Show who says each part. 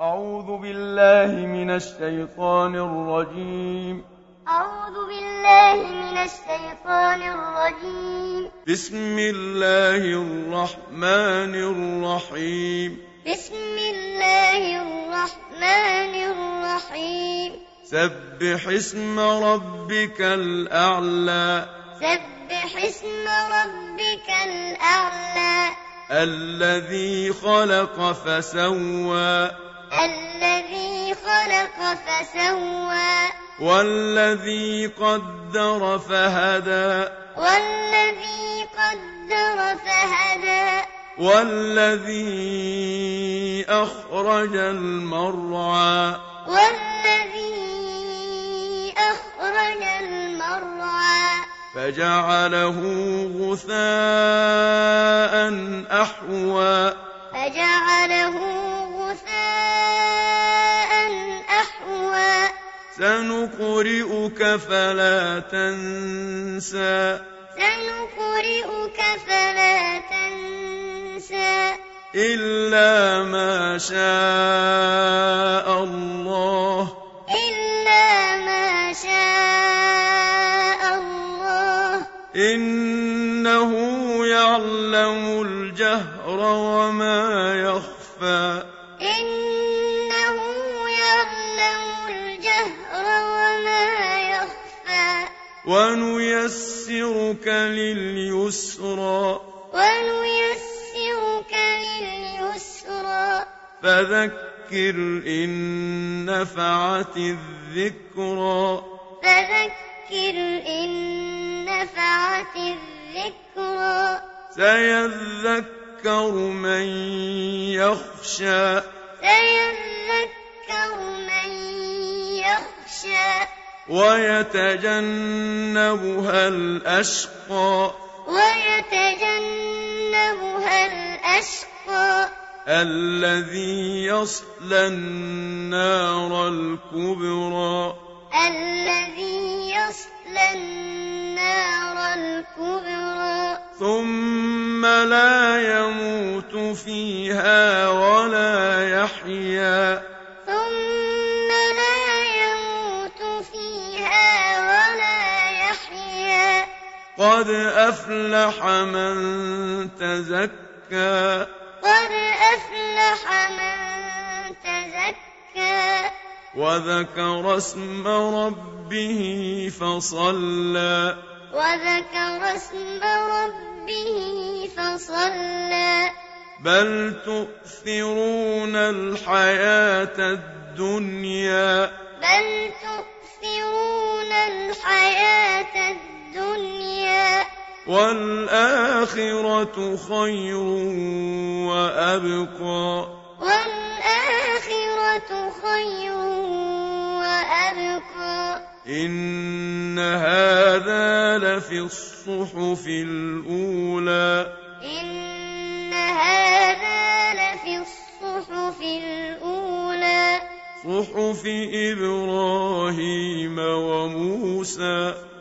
Speaker 1: أعوذ بالله من الشيطان الرجيم
Speaker 2: أعوذ بالله من الشيطان الرجيم
Speaker 1: بسم الله الرحمن الرحيم
Speaker 2: بسم الله الرحمن الرحيم
Speaker 1: سبح اسم ربك الأعلى
Speaker 2: سبح اسم ربك الأعلى
Speaker 1: الذي خلق فسوى
Speaker 2: الذي خلق فسوى
Speaker 1: والذي قدر فهدى
Speaker 2: والذي قدر فهدى
Speaker 1: والذي أخرج المرعى
Speaker 2: والذي أخرج المرعى
Speaker 1: فجعله غثاء أحوى
Speaker 2: فجعله غثاء أحوى
Speaker 1: سنقرئك فلا تنسى
Speaker 2: سنقرئك فلا تنسى
Speaker 1: إلا ما شاء الله
Speaker 2: إلا ما شاء الله
Speaker 1: إنه يعلم الجهر وما يخفى
Speaker 2: إنه يعلم الجهر وما يخفى
Speaker 1: ونيسرك لليسرى
Speaker 2: ونيسرك لليسرى
Speaker 1: فذكر إن نفعت الذكرى
Speaker 2: فذكر إن نفعت الذكرى
Speaker 1: سيذكر من يخشى
Speaker 2: سيذكر من يخشى
Speaker 1: ويتجنبها الأشقى
Speaker 2: ويتجنبها الأشقى
Speaker 1: الذي يصلى النار الكبرى
Speaker 2: الذي يصلى النار الكبرى
Speaker 1: ثم لا يموت فيها ولا يحيا
Speaker 2: ثم لا يموت فيها ولا يحيا
Speaker 1: قد أفلح من تزكى
Speaker 2: قد أفلح من تزكى
Speaker 1: وذكر اسم ربه فصلى
Speaker 2: وذكر اسم ربه فصلى
Speaker 1: بل تؤثرون الحياة الدنيا
Speaker 2: بل تؤثرون الحياة الدنيا
Speaker 1: والآخرة خير وأبقى
Speaker 2: والآخرة خير وأبقى
Speaker 1: إن هذا لفي الصحف الأولى
Speaker 2: إن هذا لفي الصحف الأولى
Speaker 1: صحف إبراهيم وموسى